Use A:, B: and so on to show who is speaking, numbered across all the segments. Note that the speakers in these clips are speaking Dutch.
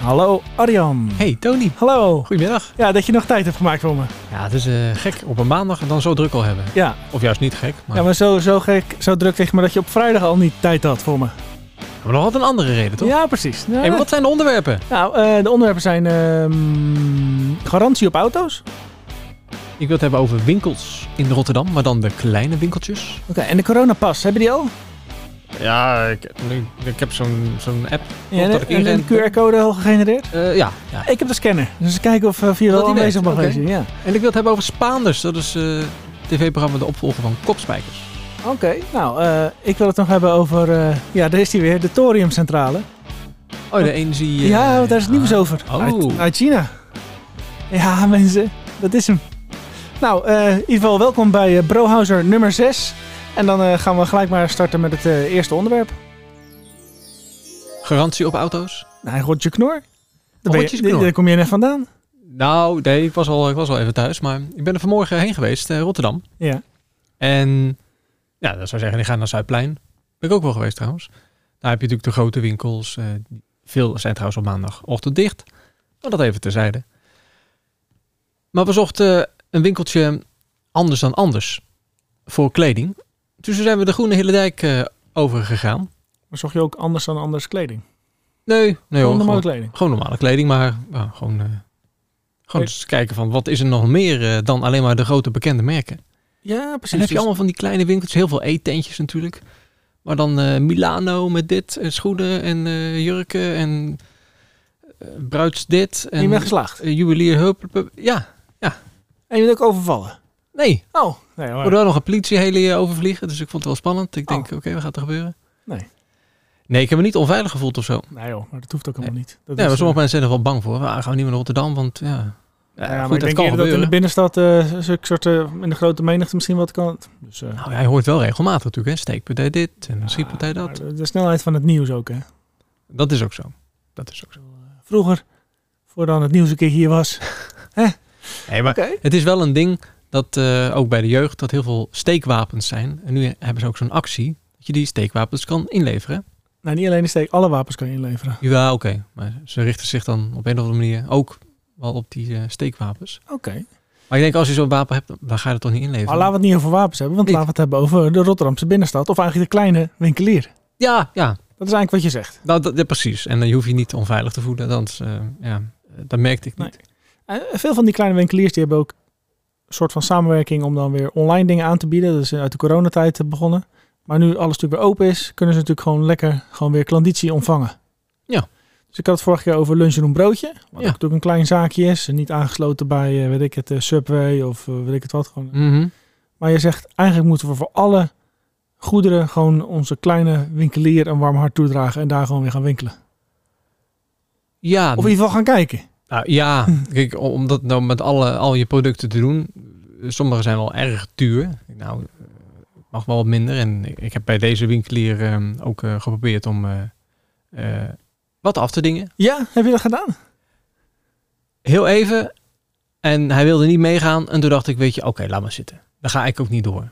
A: Hallo Arjan.
B: Hey Tony,
A: Hallo.
B: goedemiddag.
A: Ja, dat je nog tijd hebt gemaakt voor me.
B: Ja, het is eh, gek op een maandag en dan zo druk al hebben.
A: Ja,
B: Of juist niet gek, maar,
A: ja maar zo, zo gek, zo druk tegen me dat je op vrijdag al niet tijd had voor me.
B: we hebben nog altijd een andere reden, toch?
A: Ja, precies. Ja.
B: Hey, maar wat zijn de onderwerpen?
A: Nou, eh, de onderwerpen zijn ehm, garantie op auto's.
B: Ik wil het hebben over winkels in Rotterdam, maar dan de kleine winkeltjes.
A: Oké, en de coronapas, hebben die al?
B: Ja, ik, ik heb zo'n zo'n app.
A: Ja,
B: dat
A: en-
B: ik
A: en een
B: inren-
A: QR-code al gegenereerd?
B: Eh, ja, ja.
A: Ik heb de scanner, dus eens kijken of, eh, of je
B: Dat
A: wel
B: die
A: aanwezig mag
B: werkt, oké.
A: wezen. Ja.
B: En ik wil het hebben over Spaanders. Dat is eh tv-programma de opvolger van Kopspijkers.
A: Oké, nou, eh, ik wil het nog hebben over, eh, ja, daar is die weer, de thoriumcentrale.
B: Oh, de energie... eh,
A: Ja, want daar is het nieuws
B: ah.
A: over.
B: Oh.
A: Uit, uit China. Ja, mensen, dat is hem. Nou, eh, in ieder geval welkom bij eh, Brohouser nummer 6. En dan eh, gaan we gelijk maar starten met het eh, eerste onderwerp.
B: Ah, Garantie op auto's?
A: Nou, rotje knor. Daar, ben je,
B: Rotjes knor.
A: daar kom je net vandaan.
B: Nou, nee, ik was, al, ik was al even thuis, maar ik ben er vanmorgen heen geweest, eh, Rotterdam.
A: Ja.
B: En ja, dat zou zeggen, die gaan naar Zuidplein. Ben ik ook wel geweest trouwens. Daar heb je natuurlijk de grote winkels. eh, veel zijn trouwens op maandagochtend dicht. Maar dat even terzijde. Maar we zochten een winkeltje anders dan anders voor kleding. Dus toen zijn we de Groene Hillendijk eh overgegaan.
A: Maar zocht je ook anders dan anders kleding?
B: Nee, nee hoor,
A: Gewoon normale
B: gewoon,
A: kleding.
B: gewoon normale kleding, maar nou, gewoon, eh, gewoon eens kijken van wat is er nog meer eh, dan alleen maar de grote bekende merken.
A: Ja,
B: En
A: precies. dus-
B: dan heb je allemaal van die kleine winkeltjes, heel veel eetentjes natuurlijk. Maar dan eh, Milano met dit, en schoenen en eh, jurken en eh, bruids dit.
A: En je
B: En
A: bent geslaagd.
B: eh, juwelier hup, hup, hup. Ja,
A: En je bent ook overvallen.
B: nee.
A: Oh, nee
B: We
A: hoor.
B: hadden wel nog een politieheli overvliegen, dus ik vond het wel spannend. Ik denk,
A: Oh.
B: oké, wat gaat er gebeuren?
A: Nee.
B: Nee, ik heb me niet onveilig gevoeld of zo.
A: Nee joh, maar dat hoeft ook helemaal niet. Dat
B: Ja,
A: is,
B: maar sommige
A: eh,
B: mensen zijn er wel bang voor. Ah, gaan we niet meer naar Rotterdam, want ja... Ja,
A: ja, maar
B: goed,
A: ik
B: dat
A: denk
B: kan
A: eerder dat in de
B: gebeuren.
A: binnenstad, eh zulke soort, eh, in de grote menigte misschien wat kan. Dus, eh,
B: Nou, jij hoort wel regelmatig natuurlijk, hè. Steekpartij dit en schietpartij
A: Ja,
B: dat.
A: maar De snelheid van het nieuws ook, hè.
B: Dat is ook zo. Dat is ook zo.
A: Vroeger, voordat het nieuws een keer hier was.
B: Nee, maar Het is wel een ding dat eh, ook bij de jeugd dat heel veel steekwapens zijn. En nu hebben ze ook zo'n actie dat je die steekwapens kan inleveren.
A: Nou, niet alleen de steek, alle wapens kan je inleveren.
B: Ja, oké. Maar ze richten zich dan op een of andere manier ook wel op die eh, steekwapens.
A: Oké.
B: Maar ik denk als je zo'n wapen hebt, dan ga je dat toch niet inleveren.
A: Maar laten we het niet over wapens hebben, want
B: Niet.
A: laten we het hebben over de Rotterdamse binnenstad. Of eigenlijk de kleine winkelier.
B: Ja, ja.
A: Dat is eigenlijk wat je zegt.
B: Nou, dat, ja, precies. En dan je hoef je niet onveilig te voelen. Dan, ja, dat merkte ik niet.
A: Eh, veel van die kleine winkeliers die hebben ook een soort van samenwerking om dan weer online dingen aan te bieden. Dat is uit de coronatijd eh, begonnen. Maar nu alles natuurlijk weer open is, kunnen ze natuurlijk gewoon lekker gewoon weer klanditie ontvangen.
B: Ja.
A: Dus ik had het vorige keer over lunch en een broodje. Wat ook
B: Ja.
A: natuurlijk een klein zaakje is. en Niet aangesloten bij, eh, weet ik het, eh, Subway of eh, weet ik het wat. Gewoon
B: Mhm.
A: Maar je zegt, eigenlijk moeten we voor alle goederen gewoon onze kleine winkelier een warm hart toedragen en daar gewoon weer gaan winkelen.
B: Ja,
A: Of in ieder geval gaan kijken.
B: Nou, ja, kijk, om om dat nou met alle, al je producten te doen. eh, Sommige zijn wel erg duur. Nou, eh, mag wel wat minder. En ik- ik heb bij deze winkelier eh, ook eh, geprobeerd om eh, eh, wat af te dingen.
A: Ja, heb je dat gedaan?
B: Heel even. En hij wilde niet meegaan. En toen dacht ik, weet je, oké, laat maar zitten. Dan ga ik ook niet door.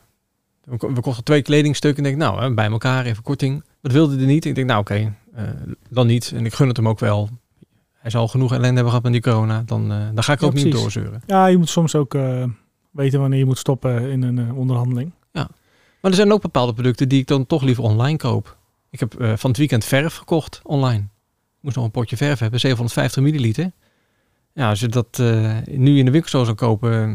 B: We ko- we kochten twee kledingstukken. En ik denk, nou, hè, bij elkaar even korting. Dat wilde hij niet. Ik denk, nou, oké, eh, dan niet. En ik gun het hem ook wel. Hij zal genoeg ellende hebben gehad met die corona. Dan, eh, dan ga ik
A: Ja,
B: ook niet
A: precies.
B: doorzeuren.
A: Ja, je moet soms ook eh, weten wanneer je moet stoppen in een eh, onderhandeling.
B: Maar er zijn ook bepaalde producten die ik dan toch liever online koop. Ik heb eh, van het weekend verf gekocht online. Ik moest nog een potje verf hebben, 750 milliliter. Ja, als je dat eh, nu in de winkel zo zou kopen, eh,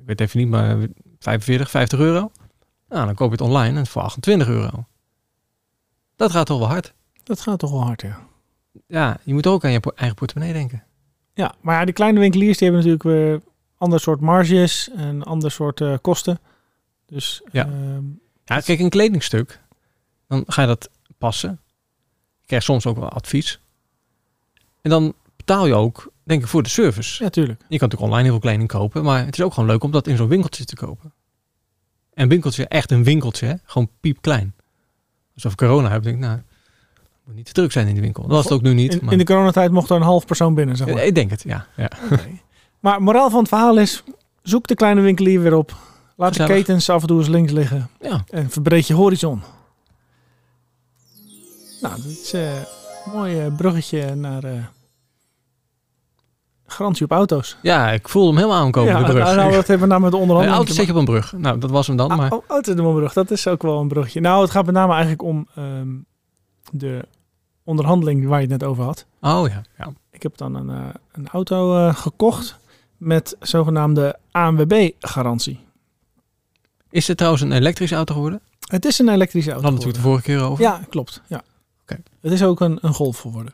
B: ik weet even niet, maar 45, 50 euro. Nou, dan koop je het online en voor 28 euro. Dat gaat toch wel hard.
A: Dat gaat toch wel hard, ja.
B: Ja, je moet ook aan je po- eigen portemonnee denken.
A: Ja, maar ja, die kleine winkeliers die hebben natuurlijk weer ander soort marges en ander soort eh, kosten. Dus
B: Ja.
A: ehm,
B: Ja, kijk, een kledingstuk, dan ga je dat passen. Je krijgt soms ook wel advies. En dan betaal je ook, denk ik, voor de service.
A: ja, tuurlijk.
B: Je kan natuurlijk online heel veel kleding kopen, maar het is ook gewoon leuk om dat in zo'n winkeltje te kopen. En een winkeltje, echt een winkeltje, hè? gewoon piepklein. Alsof ik corona heb, denk ik, nou, moet niet te druk zijn in die winkel. Dat was het ook nu niet,
A: In,
B: maar Eh,
A: in de coronatijd mocht er een half persoon binnen, zeg maar.
B: ik denk het, ja. ja. eh.
A: Maar moraal van het verhaal is, zoek de kleine winkelier weer op. Laat de
B: Gezellig.
A: ketens af en toe eens links liggen.
B: Ja.
A: En verbreed je horizon. Nou, dat is eh, een mooi eh, bruggetje naar eh, Garantie op auto's.
B: Ja, ik voelde hem helemaal aankomen,
A: ja,
B: de brug.
A: nou, nou, dat hebben we nou met de
B: Een
A: onderhandeling.
B: auto zit je op een brug. Nou, dat was hem dan. Maar
A: Ah, oh, auto doen we een brug. Dat is ook wel een brugje. Nou, het gaat met name eigenlijk om ehm, de onderhandeling waar je het net over had.
B: Oh ja. ja.
A: Ik heb dan een, eh, een auto eh, gekocht met zogenaamde ANWB-garantie.
B: Is dit trouwens een elektrische auto geworden? We
A: Het is een elektrische auto.
B: hadden het natuurlijk de
A: geworden.
B: vorige keer over.
A: Ja, klopt. Ja.
B: Oké.
A: Het is ook een, een golf geworden.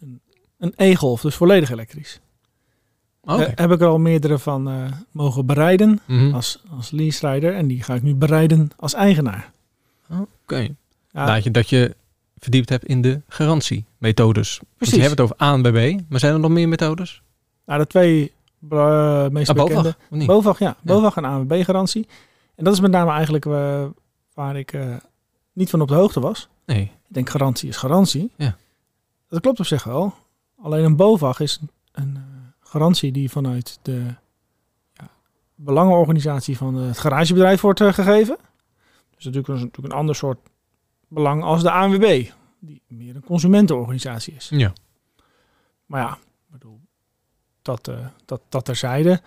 A: Een- Een e-golf, dus volledig elektrisch.
B: Oh, Oké.
A: Eh, heb ik er al meerdere van eh, mogen bereiden
B: Mhm.
A: als, als lease-rider. En die ga ik nu bereiden als eigenaar.
B: Oké.
A: Ja,
B: Dat, je, dat je verdiept hebt in de garantiemethodes. Want
A: Precies.
B: je hebt het over ANBB, maar zijn er nog meer methodes?
A: Nou, de twee eh, meest
B: Ah, BOVAG,
A: bekende.
B: of niet?
A: BOVAG, ja. BOVAG en ANWB-garantie. En dat is met name eigenlijk eh, waar ik eh, niet van op de hoogte was.
B: nee.
A: Ik denk garantie is garantie.
B: Ja.
A: Dat klopt op zich wel. Alleen een BOVAG is een eh, garantie die vanuit de ja, belangenorganisatie van eh, het garagebedrijf wordt eh, gegeven. Dus natuurlijk is natuurlijk een ander soort belang als de ANWB, die meer een consumentenorganisatie is.
B: Ja.
A: Maar ja, ik bedoel, dat, eh dat, dat terzijde.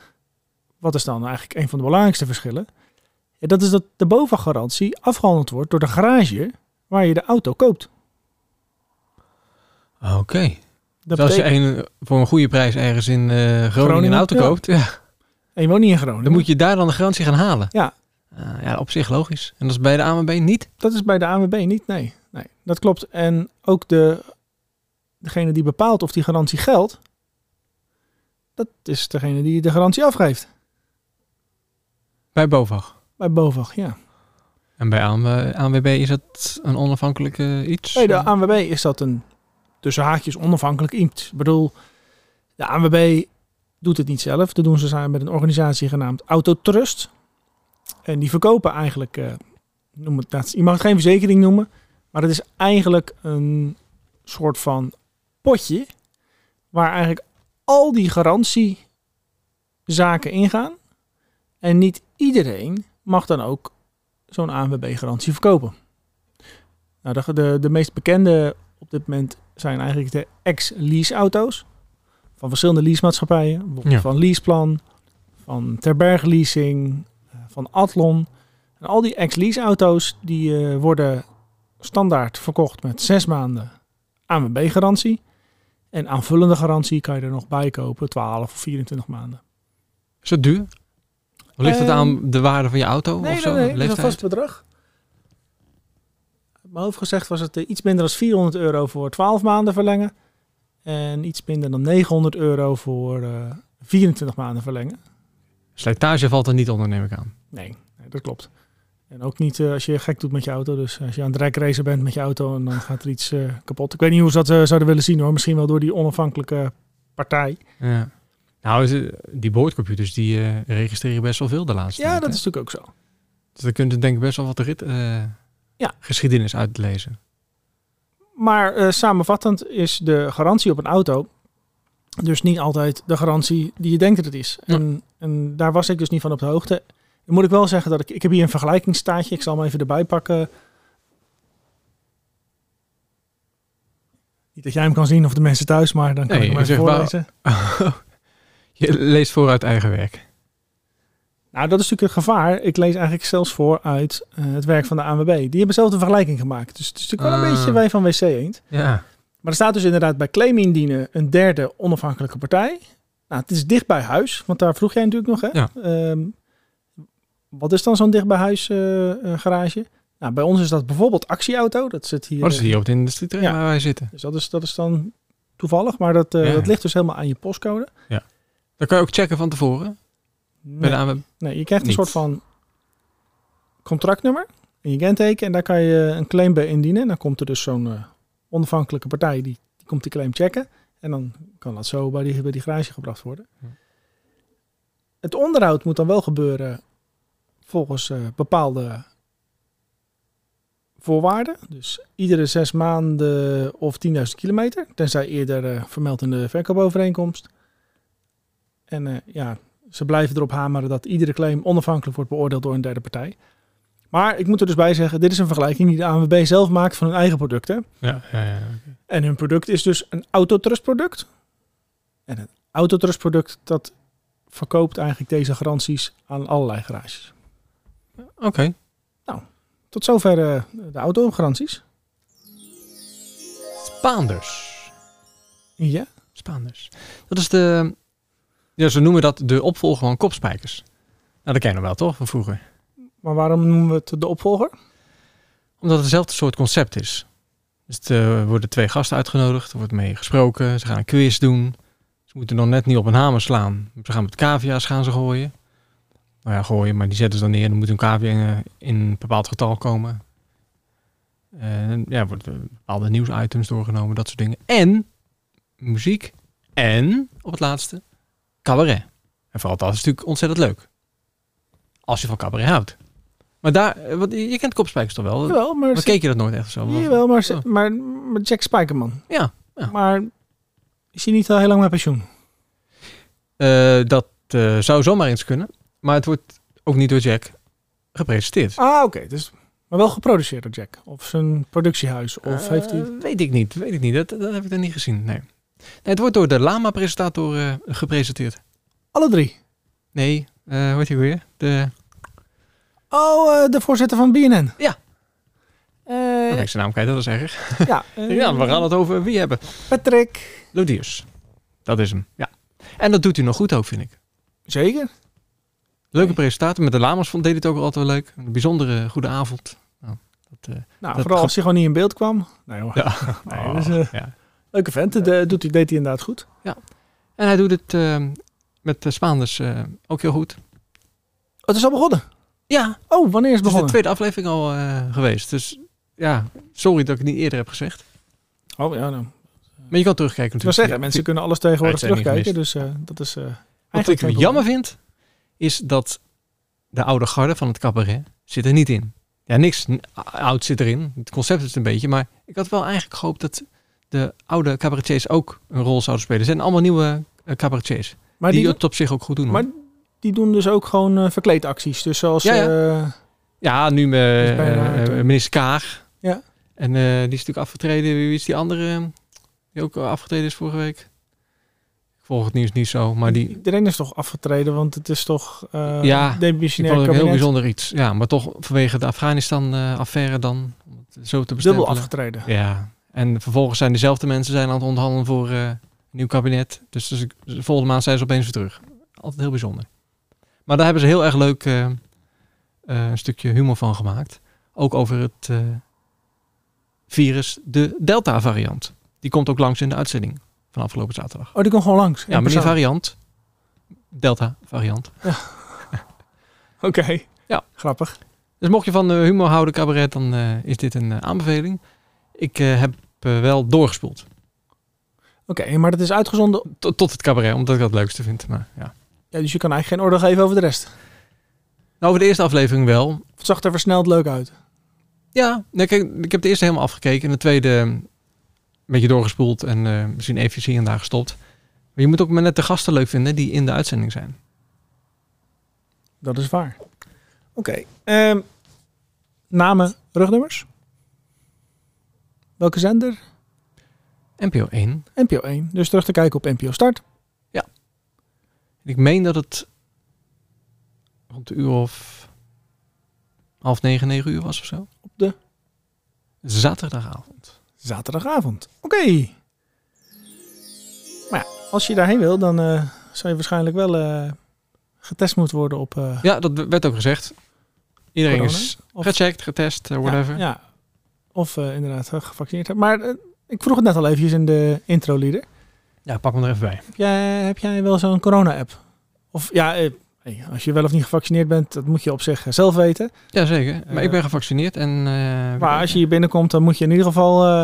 A: Wat is dan eigenlijk een van de belangrijkste verschillen? Ja, dat is dat de BOVAG-garantie afgehandeld wordt door de garage waar je de auto koopt.
B: Ah, Oké.
A: Dat
B: Dus als je
A: betekent-
B: een, voor een goede prijs ergens in eh, Groningen, een
A: Groningen,
B: auto
A: ja.
B: koopt, ja,
A: en je woont niet in Groningen.
B: dan moet je daar dan de garantie gaan halen.
A: Ja.
B: Ah, ja, op zich logisch. En dat is bij de ANWB niet?
A: Dat is bij de ANWB niet, nee. nee. Dat klopt. En ook de, degene die bepaalt of die garantie geldt, dat is degene die de garantie afgeeft.
B: Bij BOVAG.
A: Bij BOVAG, ja.
B: En bij ANW- ANWB is dat een onafhankelijke iets?
A: Bij de ANWB is dat een tussen haakjes onafhankelijk iets. Ik bedoel, de ANWB doet het niet zelf. Dat doen ze samen met een organisatie genaamd Autotrust. En die verkopen eigenlijk, eh, noem het, nou, je mag het geen verzekering noemen, maar het is eigenlijk een soort van potje waar eigenlijk al die garantiezaken ingaan. En niet iedereen mag dan ook zo'n ANWB-garantie verkopen. Nou, de, de, de meest bekende op dit moment zijn eigenlijk de ex-lease-auto's. Van verschillende leasemaatschappijen. Bijvoorbeeld
B: Ja.
A: Van Leaseplan, van Terberg Leasing, eh, van Atlon. En al die ex-lease-auto's die eh, worden standaard verkocht met zes maanden ANWB-garantie. En aanvullende garantie kan je er nog bij kopen, 12 of 24 maanden.
B: Is dat duur? Of Ligt het
A: Ehm,
B: aan de waarde van je auto?
A: Nee,
B: of zo?
A: nee, nee, dat is een
B: Leeftijd?
A: vast bedrag. Uit mijn hoofd gezegd was het eh, iets minder dan 400 euro voor 12 maanden verlengen. En iets minder dan 900 euro voor eh 24 maanden verlengen.
B: Slijtage valt er niet onder, neem ik aan.
A: Nee, nee, dat klopt. En ook niet eh, als je gek doet met je auto. Dus als je aan het rekracen bent met je auto en dan gaat er iets eh, kapot. Ik weet niet hoe ze dat eh, zouden willen zien hoor. Misschien wel door die onafhankelijke partij.
B: Ja. Nou, is het- die boordcomputers die eh, registreren best wel veel de laatste
A: Ja,
B: tijd,
A: dat
B: hè?
A: is natuurlijk ook zo.
B: Dus dan kunt u denk ik best wel wat rit, eh,
A: Ja.
B: geschiedenis uitlezen.
A: Maar eh, samenvattend is de garantie op een auto dus niet altijd de garantie die je denkt dat het is.
B: Ja.
A: En, en daar was ik dus niet van op de hoogte. Dan moet ik wel zeggen dat ik... Ik heb hier een vergelijkingstaartje. Ik zal hem even erbij pakken. Niet dat jij hem kan zien of de mensen thuis, maar dan kan
B: Nee,
A: ik hem
B: ik
A: even
B: zeg wel-
A: voorlezen.
B: Je leest vooruit eigen werk.
A: Nou, dat is natuurlijk een gevaar. Ik lees eigenlijk zelfs voor uit eh, het werk van de ANWB. Die hebben zelf de vergelijking gemaakt. Dus het is natuurlijk wel een
B: Ah.
A: beetje wij van WC Eend.
B: Ja.
A: Maar er staat dus inderdaad bij claim indienen een derde onafhankelijke partij. Nou, het is dicht bij huis, want daar vroeg jij natuurlijk nog. Hè?
B: Ja.
A: Ehm, wat is dan zo'n dicht bij huis eh, eh, garage? Nou, bij ons is dat bijvoorbeeld actieauto. Dat zit hier.
B: Oh, dat is
A: eh,
B: hier op de industrieterrein
A: Ja.
B: waar wij zitten.
A: Dus dat is, dat is dan toevallig, maar dat, eh,
B: Ja, ja.
A: dat ligt dus helemaal aan je postcode.
B: Dan kan je ook checken van tevoren. Bij
A: Nee,
B: de ANWB.
A: nee, je krijgt een
B: niet.
A: soort van contractnummer en je kenteken en daar kan je een claim bij indienen. En dan komt er dus zo'n eh, onafhankelijke partij die, die komt die claim checken. En dan kan dat zo bij die, bij die garage gebracht worden.
B: Ja.
A: Het onderhoud moet dan wel gebeuren volgens eh, bepaalde voorwaarden. Dus iedere zes maanden of 10.000 kilometer. Tenzij eerder eh, vermeld in de verkoopovereenkomst. En eh, ja, ze blijven erop hameren dat iedere claim onafhankelijk wordt beoordeeld door een derde partij. Maar ik moet er dus bij zeggen, dit is een vergelijking die de ANWB zelf maakt van hun eigen producten.
B: Ja, ja, ja.
A: En hun product is dus een autotrustproduct. En een Autotrust product, dat verkoopt eigenlijk deze garanties aan allerlei garages.
B: Oké.
A: Tot zover eh, de auto-garanties.
B: Spaanders.
A: Ja.
B: Spaanders. Dat is de... Ja, ze noemen dat de opvolger van kopspijkers. Nou, dat ken je nog wel, toch? Van vroeger.
A: Maar waarom noemen we het de opvolger?
B: Omdat het hetzelfde soort concept is. Dus er worden twee gasten uitgenodigd, er wordt mee gesproken, ze gaan een quiz doen. Ze moeten dan net niet op een hamer slaan. Ze gaan met cavia's gaan ze gooien. Nou ja, gooien, maar die zetten ze dan neer. Dan moet een cavia in, eh, in een bepaald getal komen. En ja, er worden eh, bepaalde nieuwsitems doorgenomen, dat soort dingen. En muziek. En, op het laatste, cabaret. En vooral dat is natuurlijk ontzettend leuk. Als je van cabaret houdt. Maar daar, eh, want je je kent kopspijkers toch wel?
A: Jawel, maar,
B: Maar keek je dat nooit echt zo? Want-
A: jawel, maar, ze-
B: Oh.
A: maar, maar Jack Spijkerman.
B: Ja, ja.
A: Maar is hij niet al heel lang met pensioen?
B: Eh, dat eh, zou zomaar eens kunnen. Maar het wordt ook niet door Jack gepresenteerd.
A: Ah, oké. dus, maar wel geproduceerd door Jack. Of zijn productiehuis. Ah, Of
B: Eh,
A: heeft hij...
B: Weet ik niet, weet ik niet. Dat, dat heb ik dan niet gezien, nee. nee het wordt door de Lama-presentator eh, gepresenteerd.
A: Alle drie.
B: Nee, eh hoe heet hij weer? De,
A: Eh, Oh, eh, de voorzitter van BNN.
B: Ja.
A: Eh,
B: oh, nee, zijn naam kwijt, dat is erg.
A: ja, eh,
B: ja, we gaan het over wie hebben.
A: Patrick.
B: Lodiers. Dat is hem, ja. En dat doet hij nog goed ook, vind ik.
A: Zeker.
B: Leuke
A: Nee.
B: presentator. Met de Lamas vond deed hij het ook altijd wel leuk. Een bijzondere goede avond. Nou, dat, eh,
A: Nou,
B: Dat
A: vooral
B: ge-
A: als hij gewoon niet in beeld kwam. Nee hoor.
B: ja.
A: Nee, dat is, eh,
B: Oh, ja.
A: Leuke vent. Dat eh, doet hij, deed hij inderdaad goed.
B: En hij doet het eh, met de Spaanders eh, ook heel goed.
A: Oh, het is al begonnen.
B: Ja,
A: Oh, wanneer is het
B: het is Dus de
A: begonnen?
B: tweede aflevering al eh, geweest. Dus ja, sorry dat ik het niet eerder heb gezegd.
A: Oh, ja, nou.
B: Maar je kan terugkijken
A: Ik wil
B: natuurlijk.
A: zeggen, mensen kunnen alles tegenwoordig
B: Ja, het zijn niet
A: terugkijken. Dus eh, dat is eh
B: Wat
A: eigenlijk
B: ik
A: geen probleem.
B: jammer vind, is dat de oude garde van het cabaret zit er niet in. Ja, niks n- oud zit erin. Het concept is het een beetje. Maar ik had wel eigenlijk gehoopt dat de oude cabaretiers ook een rol zouden spelen. Er zijn allemaal nieuwe eh, cabaretiers.
A: Maar
B: die,
A: die,
B: het op zich ook goed doen. hoor.
A: maar die doen dus ook gewoon eh, verkleedacties. Dus zoals...
B: Ja,
A: Ja,
B: ja. Ja, nu eh,
A: is bijna uit,
B: eh,
A: hè?
B: minister Kaag.
A: Ja.
B: En eh, die is natuurlijk afgetreden. Wie is die andere eh, die ook afgetreden is vorige week? Ik volg het nieuws niet zo, maar die... die
A: Iedereen is toch afgetreden, want het is toch eh
B: Ja,
A: ja,
B: vond ik
A: demissionair
B: ook een heel
A: kabinet.
B: bijzonder iets. Ja, maar toch vanwege de Afghanistan-affaire dan, om het zo te
A: Dubbel
B: bestempelen.
A: afgetreden.
B: ja, en vervolgens zijn dezelfde mensen zijn aan het onderhandelen voor eh, een nieuw kabinet. Dus, dus ik- dus volgende maand zijn ze opeens weer terug. Altijd heel bijzonder. Maar daar hebben ze heel erg leuk eh, eh, een stukje humor van gemaakt. Ook over het eh, virus, de Delta-variant. Die komt ook langs in de uitzending van afgelopen zaterdag.
A: Oh, die kon gewoon langs.
B: Ja,
A: In
B: meneer
A: persoon.
B: Variant. Delta-variant.
A: Oké.
B: Ja.
A: Grappig.
B: Dus mocht je van eh, humor houden, cabaret, dan eh, is dit een eh, aanbeveling. Ik eh, heb eh, wel doorgespoeld.
A: Oké, maar dat is uitgezonden.
B: Tot, tot het cabaret, omdat ik dat het leukste vind. Maar, ja.
A: Ja, dus je kan eigenlijk geen oordeel geven over de rest.
B: Nou, over de eerste aflevering wel.
A: Het zag er versneld leuk uit.
B: Ja, nee, kijk, ik heb de eerste helemaal afgekeken. En de tweede eh, een beetje doorgespoeld en eh, misschien even hier en daar gestopt. Maar je moet ook maar net de gasten leuk vinden die in de uitzending zijn.
A: Dat is waar. Oké. ehm, namen, rugnummers? Welke zender?
B: NPO 1.
A: NPO 1. Dus terug te kijken op NPO Start.
B: Ik meen dat het rond de uur of half negen, negen uur was of zo.
A: Op de
B: Zaterdagavond.
A: zaterdagavond. Oké. Maar ja, als je daarheen wil, dan eh zou je waarschijnlijk wel eh, getest moeten worden op... eh,
B: Ja, dat werd ook gezegd. Iedereen
A: Corona?
B: is
A: Of-
B: gecheckt, getest, eh, whatever.
A: Ja, ja. Of eh, inderdaad eh, gevaccineerd. hebben. Maar eh, ik vroeg het net al eventjes in de intro-leader.
B: ja pak me er even bij.
A: Heb jij, heb jij wel zo'n corona-app? Of ja, eh, hey, als je wel of niet gevaccineerd bent, dat moet je op zich eh, zelf weten.
B: Jazeker, maar
A: Eh,
B: ik ben gevaccineerd en... eh,
A: Maar als je hier binnenkomt, dan moet je in ieder geval... eh,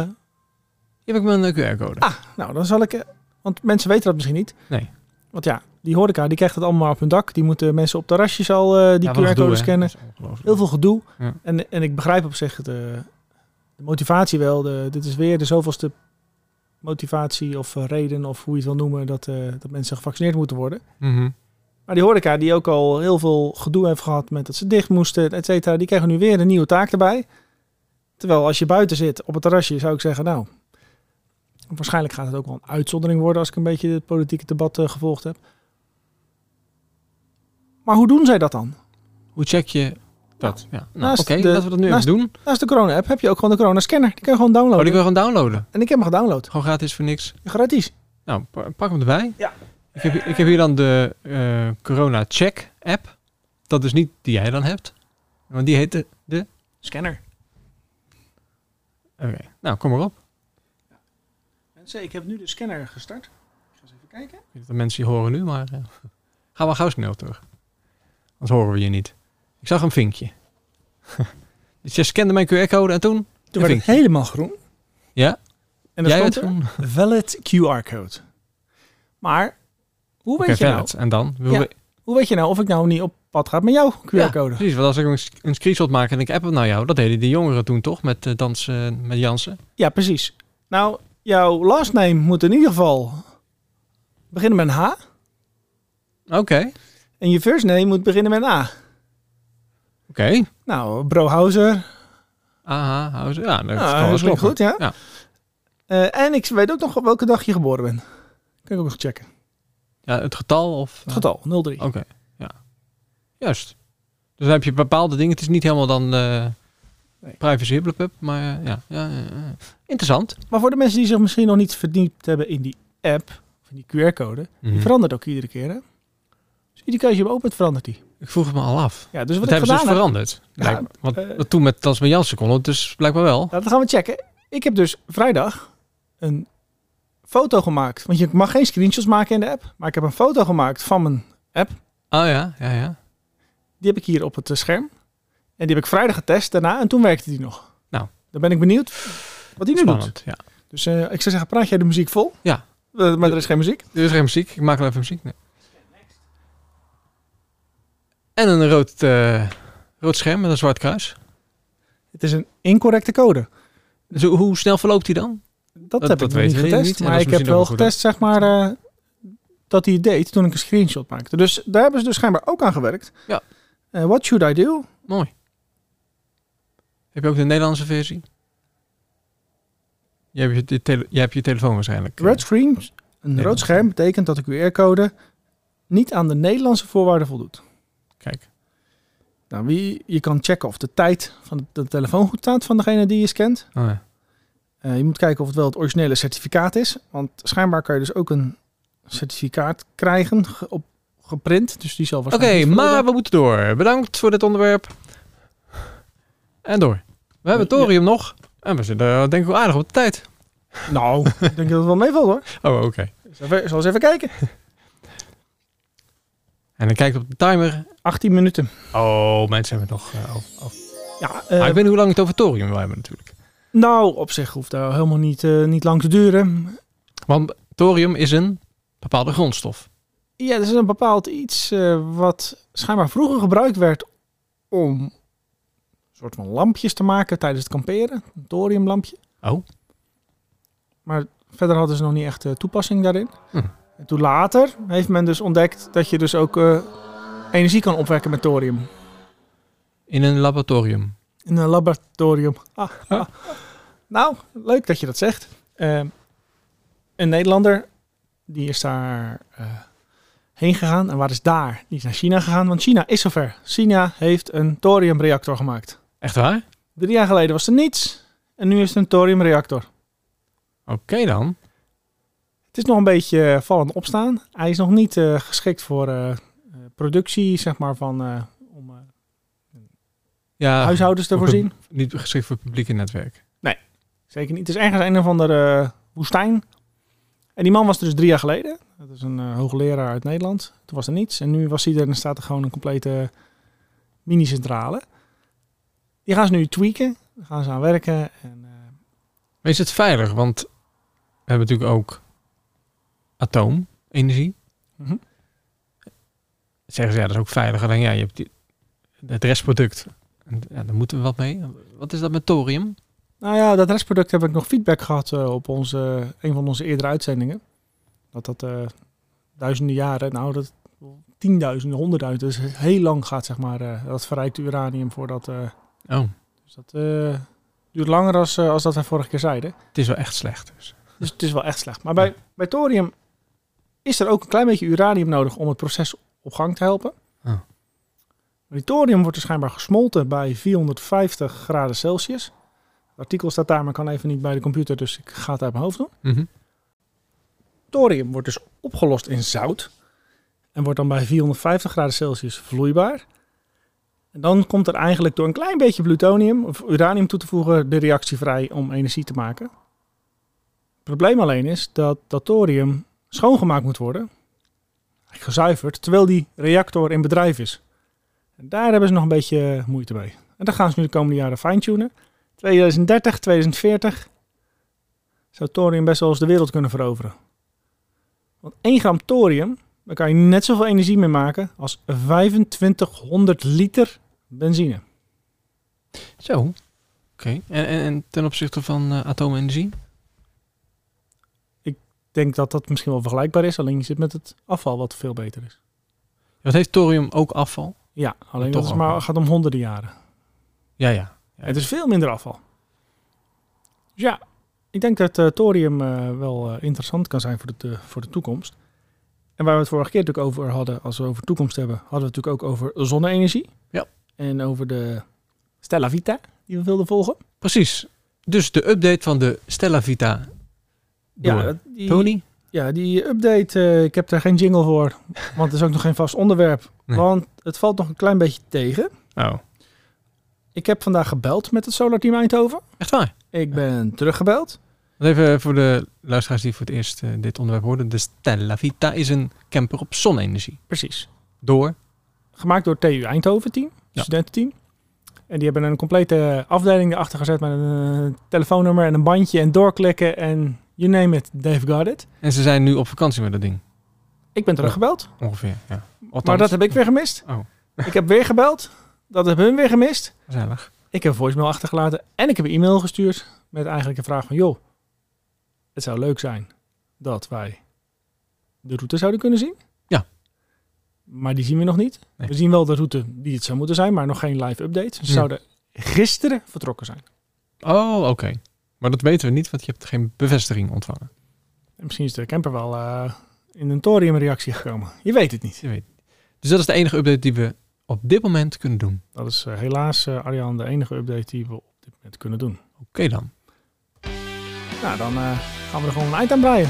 B: Hier heb ik mijn eh, QR-code.
A: Ah. nou, dan zal ik... eh, want mensen weten dat misschien niet.
B: Nee.
A: Want ja, die horeca, die krijgt het allemaal op hun dak. Die moeten mensen op terrasjes al eh, die
B: Ja, wat gedoe,
A: QR-code
B: hè.
A: scannen.
B: Dat is ongelooflijk.
A: Heel veel gedoe.
B: Ja.
A: En, en ik begrijp op zich de, de motivatie wel. De, dit is weer de zoveelste motivatie of eh, reden of hoe je het wil noemen... Dat, eh, dat mensen gevaccineerd moeten worden.
B: Mhm.
A: Maar die horeca die ook al heel veel gedoe heeft gehad met dat ze dicht moesten, et cetera, die krijgen nu weer een nieuwe taak erbij. Terwijl als je buiten zit op het terrasje, zou ik zeggen, nou, Waarschijnlijk gaat het ook wel een uitzondering worden als ik een beetje het politieke debat eh, gevolgd heb. Maar hoe doen zij dat dan?
B: Hoe check je dat? Ja. Nou,
A: naast
B: Oké,
A: de-
B: laten we dat nu
A: naast-
B: even doen.
A: Naast de corona-app heb je ook gewoon de corona-scanner. Die kun je gewoon
B: Oh,
A: downloaden.
B: die wil gewoon downloaden.
A: En ik heb hem gedownload.
B: Gewoon gratis voor niks.
A: Gratis.
B: Nou, pa- pak hem erbij.
A: Ja.
B: Ik heb, ik heb hier dan de eh, Corona Check app. Dat is niet die jij dan hebt. Want die heet de... de-
A: Scanner.
B: Oké, nou kom maar op.
A: Mensen, ik heb nu de scanner gestart. Ik ga eens even kijken.
B: Ik weet dat mensen die horen nu, maar... eh, ga maar gauw snel terug. Anders horen we je niet. Ik zag een vinkje. dus je scande mijn QR-code en toen...
A: Toen werd het
B: vinkje.
A: helemaal groen.
B: Ja,
A: En dat
B: jij
A: stond
B: het
A: er.
B: gewoon...
A: Valid QR-code. Maar hoe weet,
B: Oké,
A: je nou,
B: valid. En dan? Wil
A: Ja.
B: we-
A: hoe weet je nou of ik nou niet op pad ga met jouw QR-code?
B: Ja, precies, want als ik een, sc- een screenshot maak en ik app hem naar jou... Dat deden die jongeren toen toch, met eh, dans, eh, met Jansen.
A: Ja, precies. Nou, jouw last name moet in ieder geval beginnen met een H.
B: Oké, oké.
A: En je first name moet beginnen met een A. Nou, Brohouser.
B: Aha, hou ze. Ja, dat
A: Nou,
B: kan wel
A: dat
B: eens
A: klinkt
B: kloppen.
A: goed, ja.
B: Ja.
A: Eh, en ik weet ook nog op welke dag je geboren bent. Kan ik ook nog checken.
B: Ja, Oh. het getal of... eh,
A: Het getal, 03.
B: Oké, ja. Juist. Dus dan heb je bepaalde dingen. Het is niet helemaal dan eh
A: Nee.
B: privacy hubblepup, maar eh, ja, ja, ja, ja. Interessant.
A: Maar voor de mensen die zich misschien nog niet verdiept hebben in die app, of in die QR-code, die
B: Mhm.
A: verandert ook iedere keer, hè? Dus iedere keer als je hem opent, verandert die.
B: Ik vroeg het me al af.
A: Ja, dus wat
B: Wat
A: ik
B: hebben ze dus
A: gedaan heb...
B: veranderd?
A: Ja,
B: Lijkt me. want
A: eh,
B: dat toen met Tans met Jansen kon het dus blijkbaar wel.
A: Nou, dat gaan we checken. Ik heb dus vrijdag een foto gemaakt. Want je mag geen screenshots maken in de app. Maar ik heb een foto gemaakt van mijn...
B: Oh ja, ja, ja.
A: Die heb ik hier op het eh, scherm. En die heb ik vrijdag getest daarna. En toen werkte die nog.
B: Nou.
A: Dan ben ik benieuwd wat die nu doet.
B: Spannend, ja.
A: Dus eh, ik zou zeggen, praat jij de muziek vol?
B: Ja.
A: Eh, maar er is geen muziek.
B: Er is geen muziek. Ik maak wel even muziek. Nee. En een rood, eh, rood scherm met een zwart kruis.
A: Het is een incorrecte code.
B: Dus hoe- hoe snel verloopt die dan?
A: Dat,
B: Dat-
A: heb
B: dat
A: ik nog
B: weten
A: niet
B: we
A: getest.
B: niet en
A: Maar
B: dat is
A: ik heb
B: misschien
A: wel
B: ook wel
A: getest, zeg maar, eh, dat hij het deed toen ik een screenshot maakte. Dus daar hebben ze dus schijnbaar ook aan gewerkt.
B: Ja.
A: Eh, what should I do?
B: Mooi. Heb je ook de Nederlandse versie? Je hebt je, tele- je, hebt je telefoon waarschijnlijk. eh,
A: Red screen, een rood scherm, betekent dat de QR-code niet aan de Nederlandse voorwaarden voldoet.
B: Kijk.
A: Nou, wie, je kan checken of de tijd van de, de telefoon goed staat van degene die je scant.
B: Oh, ja.
A: Eh, je moet kijken of het wel het originele certificaat is. Want schijnbaar kan je dus ook een certificaat krijgen ge- op, geprint. Dus die zal
B: Oké,
A: waarschijnlijk... niet
B: maar
A: voldoen.
B: we moeten door. Bedankt voor dit onderwerp. En door. We hebben
A: Ja.
B: Thorium nog. En we zitten eh, denk ik wel aardig op de tijd.
A: Nou, ik denk dat het wel meevalt hoor.
B: Oh, oké.
A: Zal we- zal eens even kijken.
B: En dan kijkt op de timer.
A: 18 minuten.
B: Oh, mensen hebben het nog. eh, over- over.
A: Ja,
B: Maar
A: eh,
B: ik weet niet hoe lang het over Thorium we hebben natuurlijk.
A: nou, op zich hoeft dat helemaal niet, eh, niet lang te duren.
B: Want Thorium is een bepaalde grondstof.
A: Ja, er is een bepaald iets eh, wat schijnbaar vroeger gebruikt werd om een soort van lampjes te maken tijdens het kamperen. Een thoriumlampje.
B: Oh.
A: Maar verder hadden ze nog niet echt eh, toepassing daarin.
B: Hm.
A: En toen later heeft men dus ontdekt dat je dus ook eh, energie kan opwekken met thorium.
B: In een laboratorium.
A: In een laboratorium. Ah, ah. Nou, leuk dat je dat zegt. Ehm, een Nederlander, die is daar eh, heen gegaan. En waar is daar? Die is naar China gegaan, want China is zover. China heeft een thoriumreactor gemaakt.
B: Echt waar?
A: Drie jaar geleden was er niets. En nu is het een thoriumreactor.
B: Oké dan.
A: Het is nog een beetje eh, vallen en opstaan. Hij is nog niet eh, geschikt voor eh, eh, productie, zeg maar, van eh, om eh,
B: Ja,
A: huishoudens te
B: Oké.
A: voorzien.
B: niet geschikt voor het publieke netwerk.
A: Zeker niet. Het is ergens een of andere eh, woestijn. En die man was er dus drie jaar geleden. Dat is een eh, hoogleraar uit Nederland. Toen was er niets. En nu was hij er en staat er gewoon een complete mini-centrale. Die gaan ze nu tweaken. Daar gaan ze aan werken. En, eh,
B: Maar is het veilig? Want we hebben natuurlijk ook atoomenergie.
A: Mhm.
B: Zeggen ze, ja, dat is ook veiliger. Dan ja, je hebt die, het restproduct. En, ja, daar moeten we wat mee. Wat is dat met thorium?
A: nou ja, dat restproduct heb ik nog feedback gehad eh, op onze, een van onze eerdere uitzendingen. Dat dat eh, duizenden jaren, nou dat tienduizenden, honderdduizenden, dus heel lang gaat zeg maar eh, dat verrijkte uranium voordat... eh,
B: Oh,
A: Dus dat eh, duurt langer als, eh, als dat wij vorige keer zeiden.
B: het is wel echt slecht. Dus.
A: Dus het is wel echt slecht. Maar bij, bij thorium is er ook een klein beetje uranium nodig om het proces op gang te helpen.
B: Ah.
A: Maar die thorium wordt dus schijnbaar gesmolten bij 450 graden Celsius. Het artikel staat daar, maar kan even niet bij de computer, dus ik ga het uit mijn hoofd doen.
B: Mhm.
A: Thorium wordt dus opgelost in zout. En wordt dan bij 450 graden Celsius vloeibaar. En dan komt er eigenlijk door een klein beetje plutonium of uranium toe te voegen de reactie vrij om energie te maken. Het probleem alleen is dat dat thorium schoongemaakt moet worden, gezuiverd, terwijl die reactor in bedrijf is. En daar hebben ze nog een beetje moeite mee. En dat gaan ze nu de komende jaren fine-tunen. 2030, 2040 zou thorium best wel eens de wereld kunnen veroveren. Want 1 gram thorium, daar kan je net zoveel energie mee maken als 2500 liter benzine.
B: Zo. Oké. En, en, en ten opzichte van eh atoomenergie?
A: Ik denk dat dat misschien wel vergelijkbaar is, alleen je zit met het afval wat veel beter is.
B: Wat heeft thorium ook afval?
A: Ja, alleen
B: toch
A: dat is
B: ook wel.
A: maar, gaat om honderden jaren.
B: Ja, ja.
A: Ja, Het is veel minder afval. Dus ja, ik denk dat eh, thorium eh, wel eh, interessant kan zijn voor de, te- voor de toekomst. En waar we het vorige keer natuurlijk over hadden, als we over toekomst hebben, hadden we het natuurlijk ook over zonne-energie.
B: Ja.
A: En over de Stella Vita, die we wilden volgen.
B: Precies. Dus de update van de Stella Vita door
A: dat- die,
B: Tony.
A: Ja, die update, eh, ik heb daar geen jingle voor, want het is ook nog geen vast onderwerp.
B: Nee.
A: Want het valt nog een klein beetje tegen.
B: Oh.
A: Ik heb vandaag gebeld met het Solar Team Eindhoven.
B: Echt waar?
A: Ik ben teruggebeld.
B: Want Even voor de luisteraars die voor het eerst eh, dit onderwerp hoorden. De Stella Vita is een camper op zonne-energie.
A: Precies.
B: Door.
A: gemaakt door TU Eindhoven team,
B: Ja.
A: studententeam. En die hebben een complete afdeling erachter gezet met een eh, telefoonnummer en een bandje en doorklikken en you name it, they've got it.
B: En ze zijn nu op vakantie met dat ding.
A: Ik ben teruggebeld,
B: Ongeveer. Ja. Althans,
A: maar dat heb ik weer gemist.
B: Oh.
A: Ik heb weer gebeld, dat hebben hun weer gemist.
B: Gezellig.
A: Ik heb een voicemail achtergelaten en ik heb een e-mail gestuurd met eigenlijk een vraag van joh, het zou leuk zijn dat wij de route zouden kunnen zien.
B: Ja.
A: Maar die zien we nog niet.
B: Nee.
A: We zien wel de route die het zou moeten zijn, maar nog geen live update. Ze
B: Ja.
A: zouden gisteren vertrokken zijn.
B: Oh, oké. Maar dat weten we niet, want je hebt geen bevestiging ontvangen.
A: En misschien is de camper wel eh, in een thoriumreactie gekomen. Je weet het niet.
B: Je weet. Dus dat is de enige update die we op dit moment kunnen doen.
A: Dat is eh, helaas, eh Arjan, de enige update die we op dit moment kunnen doen.
B: Oké dan.
A: Nou, dan eh, gaan we er gewoon een eind aan breien.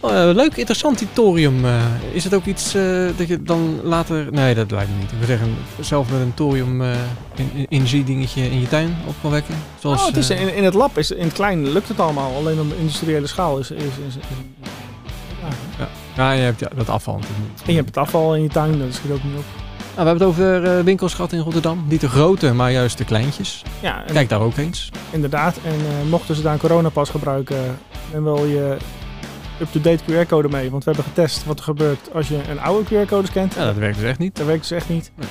B: Oh, eh, leuk, interessant, die thorium. eh. is het ook iets eh, dat je dan later... Nee, dat lijkt me niet. Ik wil zeggen, zelf met een thorium eh, in- in- energiedingetje in je tuin op kan wekken. Zoals,
A: oh, het is,
B: eh,
A: in, in het lab, is, in het klein lukt het allemaal. Alleen op de industriële schaal is... is, is, is- ja.
B: Ja, je hebt ja, dat afval natuurlijk niet.
A: En je hebt het afval in je tuin, dat schiet ook niet op.
B: Nou, we hebben het over eh, winkels gehad in Rotterdam. Niet de grote, maar juist de kleintjes.
A: Ja, en-
B: Kijk daar ook eens.
A: inderdaad. En eh, mochten ze daar een coronapas gebruiken, dan wel je up-to-date QR-code mee. Want we hebben getest wat er gebeurt als je een oude QR-code scant.
B: Ja, dat werkt dus echt niet.
A: Dat werkt dus echt niet.
B: Nee.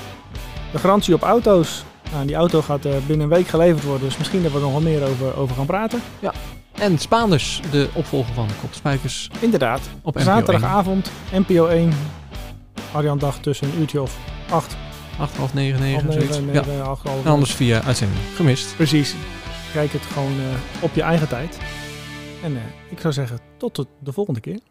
A: De garantie op auto's. Nou, die auto gaat eh, binnen een week geleverd worden. Dus misschien dat we er nog wel meer over, over gaan praten.
B: En Spaanders, de opvolger van Kopspijkers
A: Inderdaad.
B: op NPO
A: Zaterdagavond, NPO 1. Arjan dag tussen een uurtje of acht.
B: 8, half 9, 9,
A: half negen,
B: zoiets. Ja.
A: negen, half half.
B: En anders via uitzending. Gemist.
A: Precies. Kijk het gewoon eh, op je eigen tijd. En eh, ik zou zeggen, tot de- de volgende keer.